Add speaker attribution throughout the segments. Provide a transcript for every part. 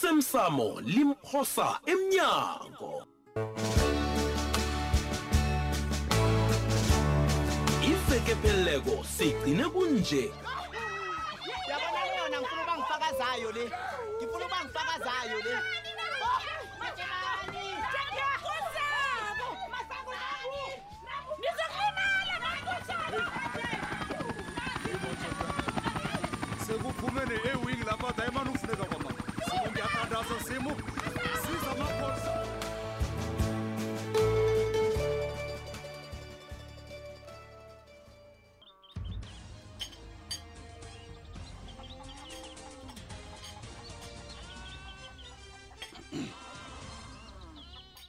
Speaker 1: osemsamo limphosa emnyango ivekepheleleko sigcine kunje
Speaker 2: yabona leyona ngifuna uba ngifakazayo le ngifuna uba ngifakazayo le
Speaker 3: sekuphume ne-ewing lamada emane ufuneka kwama simo ndiyatandaza simo siza amapolisa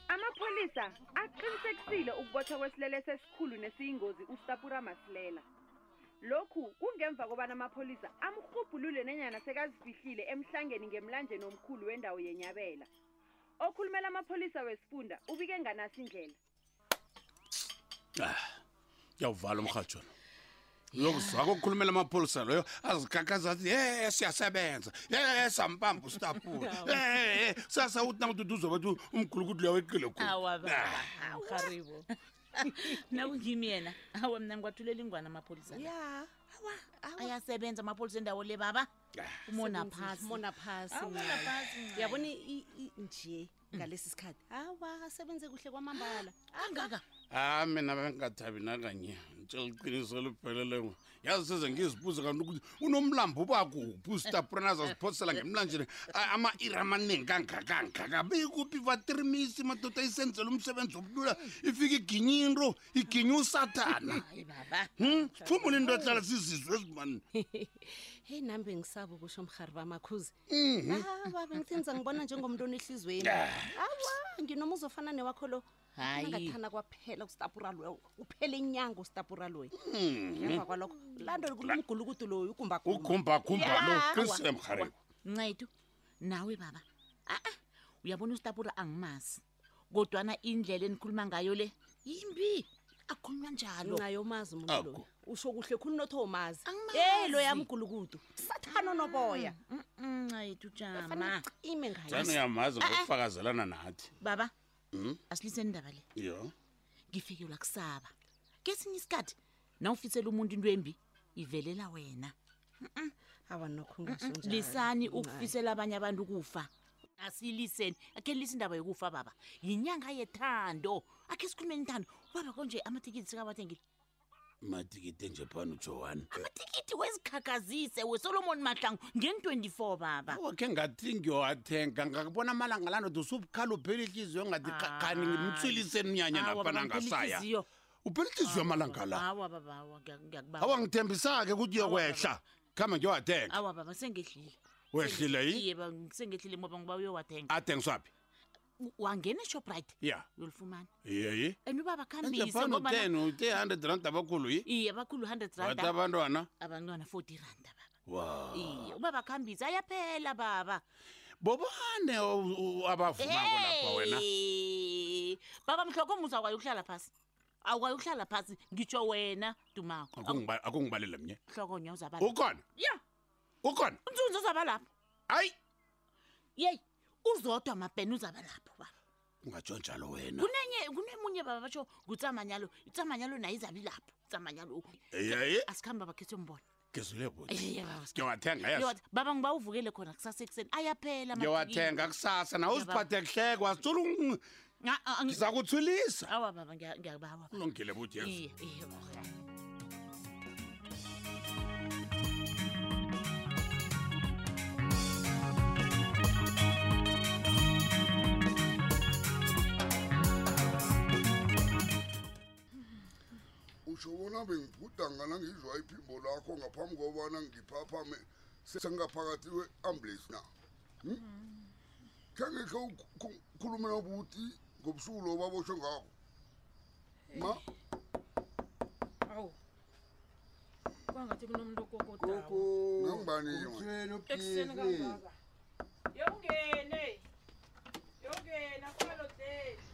Speaker 4: amapholisa aqinisekisile ukubotshwa kwesilelesi esikhulu nesiyingozi ustapura masilela lokhu kungemva kobana amapholisa amrhubhulule nenyana sekazifihlile emhlangeni ngemlanjeni omkhulu wendawo yenyabela okhulumela amapholisa wesifunda ubike nganasi indlela
Speaker 5: yawuvala umrhatshwana uyokuzaka ukukhulumela amapholisa loyo azigagaza athi ye siyasebenza ye sampamba ustapula e sasawuthi nakududuza bathi umgulukuthi loya weqile
Speaker 6: Ah
Speaker 7: awa
Speaker 5: Ah.
Speaker 7: baba awu, haribo nakungimi yena awa mna ngiwathulela ingwane amapholisa la.
Speaker 8: ya
Speaker 7: ayasebenza amapholisa endawo le baba Ah. umona phasi
Speaker 8: mona phasi
Speaker 7: yabona
Speaker 8: yabona i- i- nje ngalesi sikhathi hawa asebenze kuhle kwamambala
Speaker 7: angaka
Speaker 5: ha Ah, mina bengingathabi nakanye ntshela iqiniso elipheleleko yazi seze ngizibuze kanti ukuthi unomlambo ubakuphi ustapulana azaziphosela ngemlanjeni a- ama-iri amaningi kangakangaka beyikuphi vatrimisi madoda isenzela umsebenzi obulula ifike iginye into iginye usathana
Speaker 7: hayi baba
Speaker 5: Hmm? siphumule into ehlala sizizwe ezimani
Speaker 8: heyi nami bengisaba ukusho mhari bamakhuzi
Speaker 5: Mhm.
Speaker 8: hawa bengithenza ngibona njengomntu onehliziyweni
Speaker 5: Ah.
Speaker 8: hawa nginoma uzofana newakho lo
Speaker 7: Hayi.
Speaker 8: angathana kwaphela ustapura loyo uphele inyanga ustapura loyo
Speaker 5: Mhm.
Speaker 8: ngemva kwalokho lando kulumgulukudu loyo ugumbagumba
Speaker 5: ugumbakhumba lo
Speaker 8: Yeah.
Speaker 5: qinisile mrhareko
Speaker 7: ncethu nawe baba a-a uyabona ustapura angimazi kodwana indlela enikhuluma ngayo le yimbi akhulunywa njalo
Speaker 8: nxa yomazi umuntu loyo
Speaker 5: Ako.
Speaker 8: usho kuhle khulu notho umazi
Speaker 7: Angimazi. Mm,
Speaker 8: eyi loya mgulukudu sathana onoboya
Speaker 7: ncethu jama
Speaker 8: faneleime ngayo
Speaker 5: jani
Speaker 7: Eh,
Speaker 5: uyamazi ngokufakazelana nathi
Speaker 7: baba
Speaker 5: Mm.
Speaker 7: asiliseni indaba le
Speaker 5: yo
Speaker 7: ngifikelwa kusaba kesinye isikhathi nawufisela umuntu into embi ivelela wena
Speaker 8: awa nokho ngisho njalo.
Speaker 7: lisani
Speaker 8: Hayi.
Speaker 7: ukufisela abanye abantu ukufa asiliseni akhe lisa indaba yokufa baba yinyanga yethando akhe sikhulumeni thando baba konje amatikiti sekawathengile
Speaker 5: matikite nje phana ujowane
Speaker 7: amatikiti wezikhakhazise wesolomon mahlangu ngen-24 baba
Speaker 5: wakhe ngathi Oh, ngiyowathenga ngakubona amalanga lanoda usubukhala uphela ihliziyo ngathi
Speaker 7: Ah.
Speaker 5: kani ngimtswiliseni umnyanya
Speaker 7: Awa,
Speaker 5: naphana
Speaker 7: baba, ngiphela
Speaker 5: ngasaya
Speaker 7: ihliziyo.
Speaker 5: uphela ihliziyo amalanga la
Speaker 7: awa baba awa ngiya- ngiyakubawa.
Speaker 5: awangithembisa-ke ukuthi uyokwehla khamba ngiyowathenga
Speaker 7: awa baba sengehlile
Speaker 5: wehlile yi
Speaker 7: iye ba- sengehlile ngoba ngoba uyowathenga
Speaker 5: athengiswaphi
Speaker 7: U- wangena eshoprite
Speaker 5: ya
Speaker 7: uyolifumana
Speaker 5: yeyi
Speaker 7: and ubaba
Speaker 5: enje
Speaker 7: khambise
Speaker 5: phana
Speaker 7: ngobana
Speaker 5: u-ten uthe hundred rand abakhulu yi
Speaker 7: iye abakhulu 100
Speaker 5: wathi Ah.
Speaker 7: rand
Speaker 5: abantwana
Speaker 7: abantwana 40 rand baba
Speaker 5: wa
Speaker 7: iye ubaba khambise ayaphela baba
Speaker 5: bobane abavumako lapha wena
Speaker 7: Hey! baba mhlokomuza kwaye ukuhlala phasi awukwaye ukuhlala phasi ngitsho wena dumako
Speaker 5: Akungiba- akungibalele mnye
Speaker 7: hlokonya uzaba lapha.
Speaker 5: ukhona
Speaker 7: ya
Speaker 5: ukhona
Speaker 7: umthunzi uzaba lapho
Speaker 5: hayi
Speaker 7: yeyi uzodwa mabhena uzaba lapho baba
Speaker 5: ungatsho njalo wena
Speaker 7: kunenye kunemunye baba batsho ngutsamanyalo itsamanyalo naye izabi lapho tsamanyalo
Speaker 5: eyeyi
Speaker 7: asikhambi babakhethe umbona
Speaker 5: ngizule buti
Speaker 7: Eyi, baba, sikhambe.
Speaker 5: ngiyowathenga yes
Speaker 7: Yoda, baba ngiba uvukele khona kusasa ekuseni ayaphela
Speaker 5: ngiyowathenga kusasa nawe
Speaker 7: Ngiyababa.
Speaker 5: uziphathe kuhleko wasitsula
Speaker 7: awa
Speaker 5: ngiza kuthulisa
Speaker 7: baba ngiya- ngiyakubawa baba.
Speaker 5: ulungile buti yes
Speaker 7: iye iye oh.
Speaker 6: usho bona bengibhuda ngana ngizwa iphimbo lakho ngaphambi kobana ngiphaphame sengaphakathi kwe-ambulensi na Hmm? khe ngikhe ukhulume nobuti ngobusuku lo baboshwe ngako ma
Speaker 9: awu kwangathi kunomuntu okokodawo
Speaker 6: nangibani
Speaker 9: ekuseni kangaka yokungene yokungena kumaloteli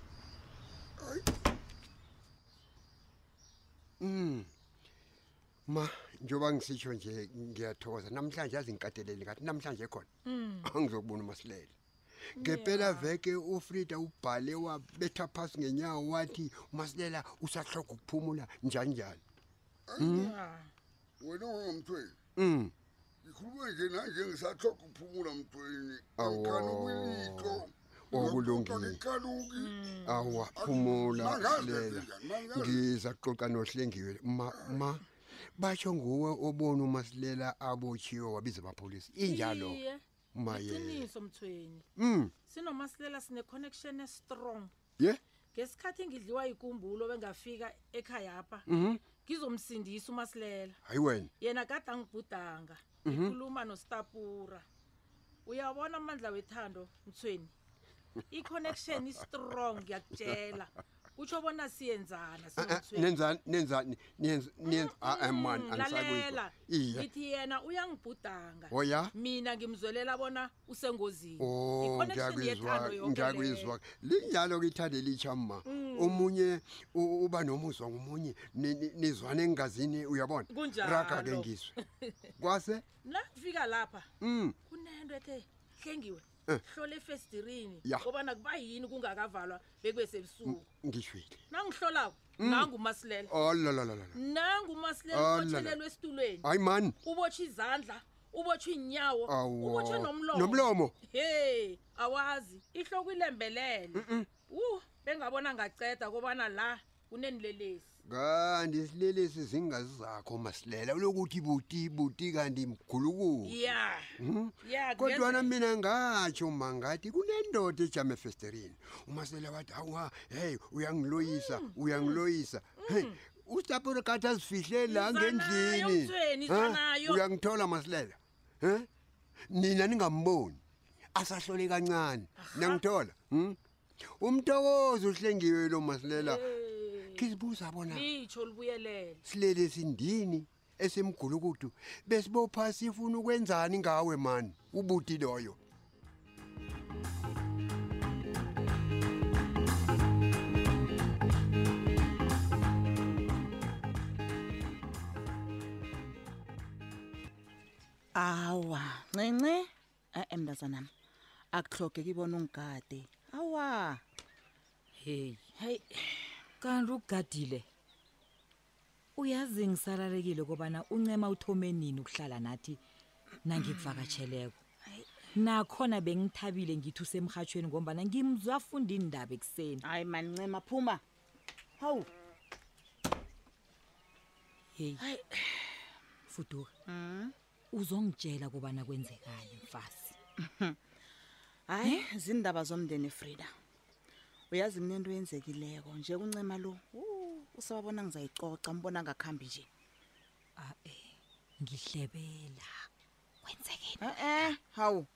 Speaker 10: Hmm. ma njengoba ngisitsho nje ngiyathokoza namhlanje azingikateleli ngathi namhlanje khona
Speaker 9: um
Speaker 10: angizokubona umasilele ngempela veke ufrida ubhale wabetha phasi ngenyawo wathi umasilela usahloga ukuphumula njani njani
Speaker 6: wena ongamthweni
Speaker 10: um
Speaker 6: ngikhuluma nje nanje ngisaxoxa ukuphumula mthweni
Speaker 10: Awo.
Speaker 6: angikhani ukwilixo
Speaker 10: okulungile
Speaker 6: kaluki
Speaker 10: awaphumula
Speaker 6: mangazenze
Speaker 10: masilela
Speaker 6: njani mangazenze
Speaker 10: ngizaxoxa nohlengiwe ma ma basho nguwe obona umasilela abotshiwe wabiza amapholisa injalo
Speaker 9: Iye,
Speaker 10: maye
Speaker 9: iqiniso mthweni
Speaker 10: um
Speaker 9: sinomasilela sine-connection estrong
Speaker 10: ye
Speaker 9: ngesikhathi ngidliwa yikumbulo bengafika ekhaya apha ngizomsindisa umasilela
Speaker 10: hayi wena
Speaker 9: yena kade angibhudanga
Speaker 10: Mhm.
Speaker 9: ngikhuluma nostapura uyabona amandla wethando mthweni i-connection istrong ngiyakutshela kutsho bona siyenzana
Speaker 10: Ah, ah,
Speaker 9: sinomthweni.
Speaker 10: nenzani nenzani niyenz- niyenz- ah, ah, man
Speaker 9: Mm,
Speaker 10: angisakuyizwa
Speaker 9: lalela Mm.
Speaker 10: iye
Speaker 9: ngithi yena uyangibhudanga
Speaker 10: Oh, ya?
Speaker 9: mina ngimzwelela bona usengozini
Speaker 10: Oh
Speaker 9: I-connection
Speaker 10: ngiyakuzwa
Speaker 9: yethando yonke
Speaker 10: ngiyakuzwa
Speaker 9: leyo.
Speaker 10: linjalo ke ithande litsha ma
Speaker 9: Mm.
Speaker 10: omunye u- uba nomuzwa ngomunye ni- ni- nizwane engazini uyabona
Speaker 9: Kunjalo.
Speaker 10: raga ke ngizwe kwase
Speaker 9: nakufika lapha
Speaker 10: mm
Speaker 9: kunento ethe hlengiwe
Speaker 10: Eh.
Speaker 9: hlola efestirini
Speaker 10: Ya. Mm.
Speaker 9: ngobana kuba yini kungakavalwa bekwesebusuku
Speaker 10: ngishwile Oh,
Speaker 9: nangihlolako
Speaker 10: Mm.
Speaker 9: nangumasilela
Speaker 10: olalalala
Speaker 9: nangumasilela
Speaker 10: Ah,
Speaker 9: ubothelelwa esitulweni
Speaker 10: hayi man
Speaker 9: ubotshwe izandla ubotshwe iinyawo
Speaker 10: Awa.
Speaker 9: ubotshwe nomlomo
Speaker 10: Nomlomo.
Speaker 9: he awazi ihloko ilembelele u bengabona ngaceda kobana la kunenilelesi
Speaker 10: kanti isilelesi zingazi zakho masilela lokuthi buti buti kanti mgulukuku
Speaker 9: ya
Speaker 10: Mhm.
Speaker 9: ya
Speaker 10: kodwana
Speaker 9: kungenzeka.
Speaker 10: mina ngatsho mangathi kunendoda ejama efestereni umasela wathi hawa hey uyangiloyisa uyangiloyisa hey usitapure kathi azifihle la
Speaker 9: Izwa nayo
Speaker 10: ngendlini
Speaker 9: Mthweni, izwa
Speaker 10: Ha?
Speaker 9: nayo.
Speaker 10: uyangithola masilela um nina ningamboni asahlole kancane niyangithola um umtokozi uhlengiwe lo masilela
Speaker 9: Eh,
Speaker 10: khizibuza bona
Speaker 9: litsho libuyelele
Speaker 10: silele sindini esemgulukudu besibopha sifuna ukwenzani ngawe mani ubuti loyo
Speaker 7: awa ncinci e-e mntazanam akuhlogeki ibona ungigade awa heyi heyi
Speaker 11: kanti ukugadile uyazi ngisalarekile kobana uncema uthome nini ukuhlala nathi nangikuvakatsheleko nakhona bengithabile ngithi usemrhatshweni ngombana ngimzwafunda indaba ekuseni
Speaker 7: hayi mani ncema phuma hawu
Speaker 11: heyi
Speaker 7: hayi
Speaker 11: fuduka Hmm? uzongitshela kobana kwenzekayo mfazi
Speaker 7: hayi
Speaker 5: Hmm?
Speaker 7: zindaba zomndeni frida uyazi kunento yenzekileko nje kuncema lo wu, usababona ngizayicoca mbona ngakhambi nje
Speaker 11: a-e ngihlebela kwenzekeni
Speaker 7: e-e hawu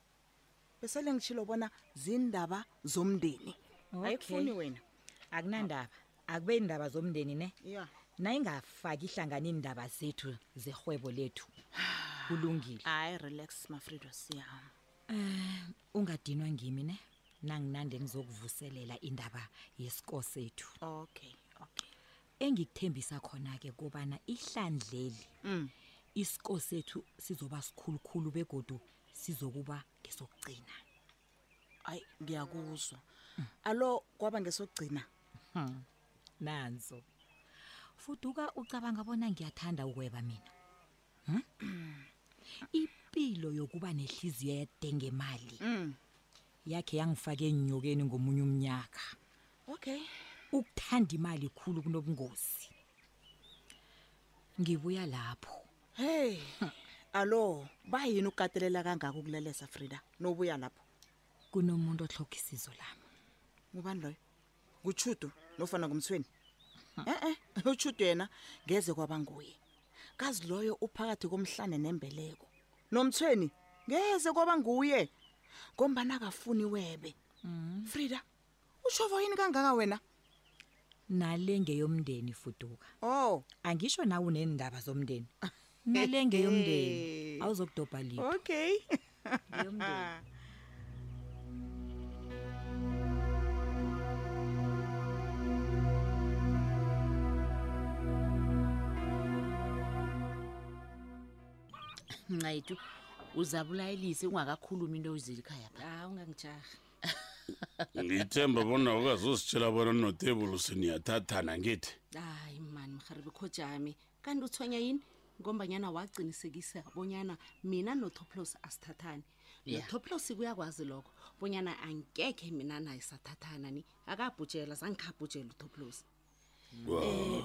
Speaker 7: besele ngitshilo bona zindaba zomndeni ayikufuni wena
Speaker 11: akunandaba akube indaba zomndeni ne
Speaker 7: ya
Speaker 11: nayingafaki ihlangana iindaba zethu zerhwebo lethu kulungile
Speaker 7: hayi relax mafrido siyam
Speaker 11: Eh, ungadinwa ngimi ne nanginande ngizokuvuselela indaba yesiko sethu
Speaker 7: okay okay
Speaker 11: engikuthembisa khona-ke kobana ihlandleli
Speaker 7: Mm.
Speaker 11: isiko sethu sizoba sikhulukhulu begodu sizokuba ngesokugcina
Speaker 7: hayi ngiyakuzwa alo kwaba ngesokugcina
Speaker 11: Hmm, nanzo fuduka ucabanga bona ngiyathanda ukweba mina Hmm?
Speaker 7: Mm.
Speaker 11: impilo yokuba nehliziyo yede ngemali
Speaker 7: Mm.
Speaker 11: yakhe yangifake enyokeni ngomunye umnyaka
Speaker 7: okay
Speaker 11: ukuthanda imali khulu kunobungozi ngibuya lapho
Speaker 7: hey alo bayini ukukatelela kangaka ukulelesa frida nobuya lapho
Speaker 11: kunomuntu otlhoga isizo lami
Speaker 7: ngubani loyo ngutshudu nofana ngumthweni e-e utshudu yena ngeze kwaba nguye kazi loyo uphakathi komhlane nembeleko nomthweni ngeze kwaba nguye ngombani akafuni webe frida ushova yini kangaka wena
Speaker 11: nalenge yomndeni fuduka
Speaker 7: oh
Speaker 11: angisho nawe uneendaba zomndeni nalenge yomndeni
Speaker 7: Hey.
Speaker 11: awuzokudobha liphi
Speaker 7: okay
Speaker 11: yomndeni
Speaker 7: ncayethu
Speaker 12: uzabulayelise ungakakhulumi into ezilikhaya pha
Speaker 8: hawu ungangijaha
Speaker 5: ngithemba bona ukazositshela bona notebulusi niyathathana ngithi
Speaker 8: hayi mani mharibe kho jami kanti uthonya yini ngombanyana wagcinisekisa bonyana mina notoplos asithathani
Speaker 12: Yeah.
Speaker 8: notoplos kuyakwazi lokho bonyana angekhe mina naye sathathana ni akabhutshela zangikhabhutshela utoplos
Speaker 5: Wow.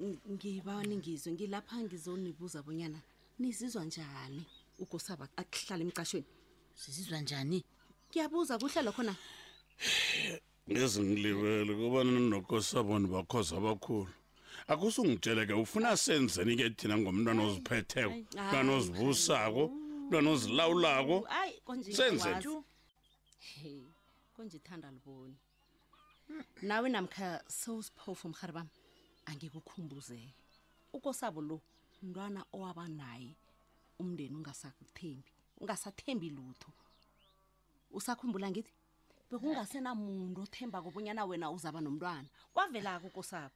Speaker 8: um ngibani ngizwe ngilapha ngizonibuza bonyana nizizwa njani ugosaba akuhlala emcashweni
Speaker 12: sizizwa njani
Speaker 8: ngiyabuza kuhle lokho na
Speaker 5: ngezingilibele kubana nokosabona bakhoza abakhulu akusungitsheleke ufuna senzeni ke thina ngomntwana oziphetheko mntwana
Speaker 8: Hayi,
Speaker 5: ozivusako mntwana ozilawulako
Speaker 8: hayi konje
Speaker 5: senzeni
Speaker 8: wazi. Hey, konje ithanda liboni nawe namkha sewusiphofu mhari bam angikukhumbuze ukosabo lo mntwana owaba naye umndeni ungasathembi ungasathembi lutho usakhumbula ngithi bekungasenamuntu othemba kobonyana wena uzaba nomntwana kwavelako ukosabo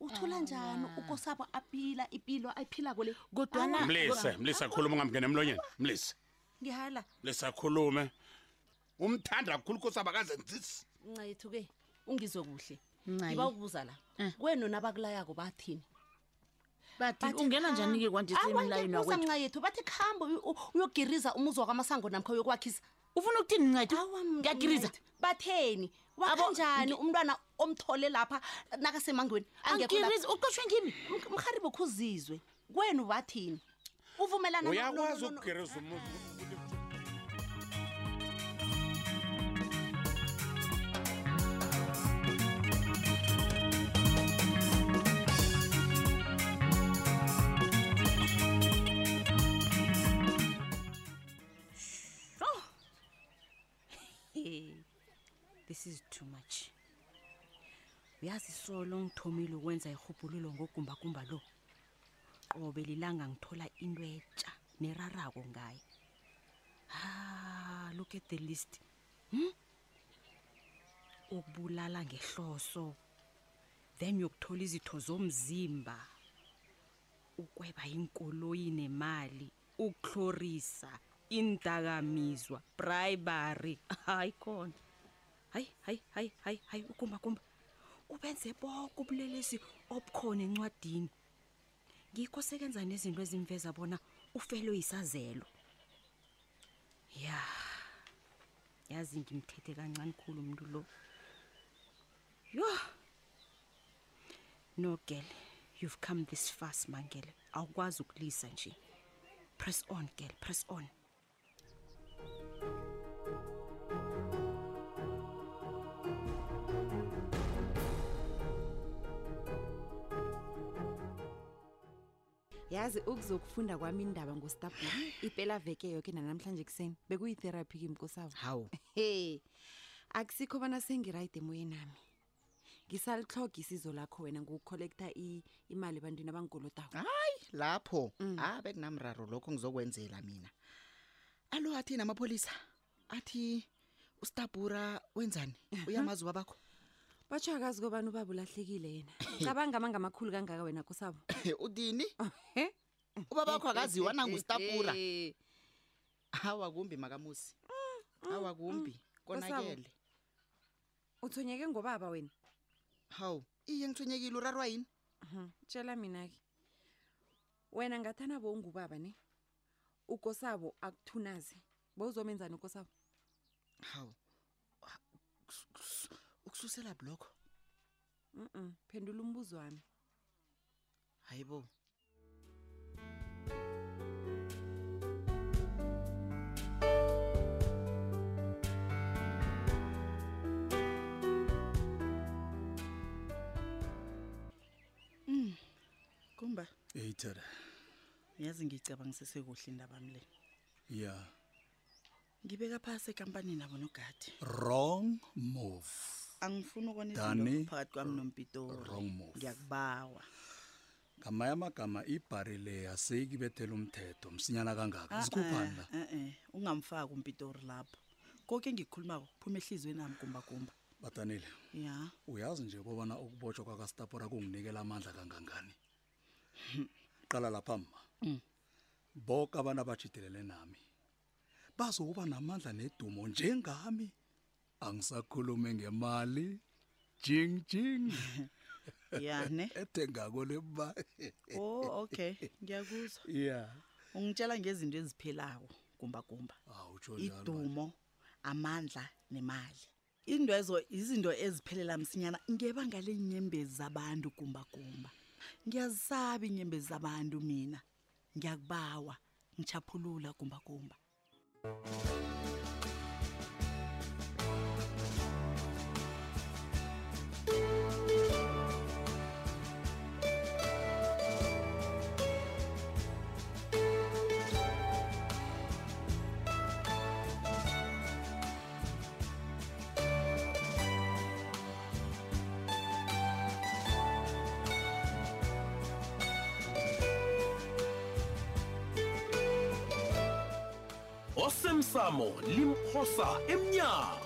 Speaker 8: uthola Ah. njani ukosabo aphila ipilo ayiphila kole
Speaker 12: kodwana
Speaker 5: mlise mlise akhuluma ungamngena emlonyeni mlise
Speaker 8: ngihala
Speaker 5: mlise akhulume umthanda kakhulu kosaba kazenzisi
Speaker 8: ncayethu ke ungizwe kuhle
Speaker 12: Ncayi.
Speaker 8: ngiba ukubuza la kwenu nabakulayako bathini
Speaker 12: bathi ungena njani-ke kwanje semlayini wakwethu
Speaker 8: ncayethu bathi kuhambe uyo- u- uyogiriza umuzi wakamasango namkha uyokwakhisa
Speaker 12: ufuna ukuthini ncayethu
Speaker 8: ngiyagiriza batheni wakanjani umntwana omthole lapha nakasemangweni
Speaker 12: Angigirizi,
Speaker 8: uqoshwe ngimi mharibe khuzizwe kwenu bathini uvumelana no- no- no-
Speaker 5: uyakwazi
Speaker 8: no- no-
Speaker 5: ukugereza umuzi
Speaker 13: Oh. Hey, Eh, this is too much uyazi solo ngithomile ukwenza irhubhululo ngogumbakumba lo qobe lilanga ngithola into etsha nerarako ngaye ha look at the list hmm? ukubulala ngehloso then uyokuthola izitho zomzimba ukweba inkoloyi nemali ukuhlorisa indakamizwa bribery hayi khona hayi hayi hayi hayi hayi ukumbakumba ubenze boke ubulelesi obukhona encwadini ngikho sekenza nezinto ezimveza bona ufelwe yisazelo ya yazi ngimthethe kancane khulu umntu lo yo no girl you've come this fast mangele awukwazi ukulisa nje press on girl press on
Speaker 14: yazi ukuzokufunda kwami indaba ngostabula ipela veke yoke nanamhlanje kuseni bekuyitheraphi kimi kosabo
Speaker 12: hawu
Speaker 14: he akusikho bona sengirayide emoyeni nami ngisalihloga isizo lakho wena ngokukholektha imali ebantwini abangikolotako
Speaker 12: hayi lapho ha bekunamraro lokho ngizokwenzela mina alo athini amapholisa athi ustabura wenzani uyamazi ubabakho
Speaker 14: batsho akazi kobani ubaba ulahlekile yena cabanga amangamakhulu kangaka wena kosabo
Speaker 12: udini ubabakho akaziwa nangustabura hawa kumbi makamusi hawa kumbi konakele
Speaker 14: uthonyeke ngobaba wena
Speaker 12: hawu iye ngithonyekile urarwa yini
Speaker 14: Mhm. tshela mina-ke wena ngathana bo ungubaba ne ukosabo akuthunaze bowuzomenzani ukosabo
Speaker 12: hawu ha- kus- kus- ukususela blokho
Speaker 14: mm phendula umbuzo wami
Speaker 12: hayibo
Speaker 15: Mm. kumba
Speaker 16: eyi thada
Speaker 15: yazi ngiyicabangisesekuhle indaba mle
Speaker 16: ya
Speaker 15: ngibeka phasi ekampanini abo nogadi
Speaker 16: wrong move
Speaker 15: angifuni ukona
Speaker 16: Dani,
Speaker 15: izinto phakathi kwami nompitori
Speaker 16: wrong move.
Speaker 15: ngiyakubawa
Speaker 16: ngamaye amagama ibhari le aseyikibethela umthetho msinyana kangaka
Speaker 15: Ah,
Speaker 16: zikhuphani
Speaker 7: eh.
Speaker 16: la
Speaker 15: ah, ah, ah. ungamfaki umpitori lapho konke engikukhulumako phuma ehliziyweni ami kumbakumba
Speaker 16: batanile
Speaker 15: ya
Speaker 16: uyazi nje bobana ukubotshwa kwakastapora kunginikela amandla kangangani qala lapha mma boke abantu abajidelele nami bazokuba namandla nedumo njengami angisakhulume ngemali jing jing
Speaker 15: Yane.
Speaker 16: ethengako leba
Speaker 15: oh okay ngiyakuzwa
Speaker 16: ya
Speaker 15: ungitshela ngezinto eziphelako gumbagumba
Speaker 16: utsho njalo bandla.
Speaker 15: idumo amandla nemali indwezo izinto eziphelela msinyana ngebanga leenyembezi zabantu gumbagumba ngiyazisaba iinyembezi zabantu mina ngiyakubawa ngichaphulula gumbagumba
Speaker 1: osemsamo limphosa emnyango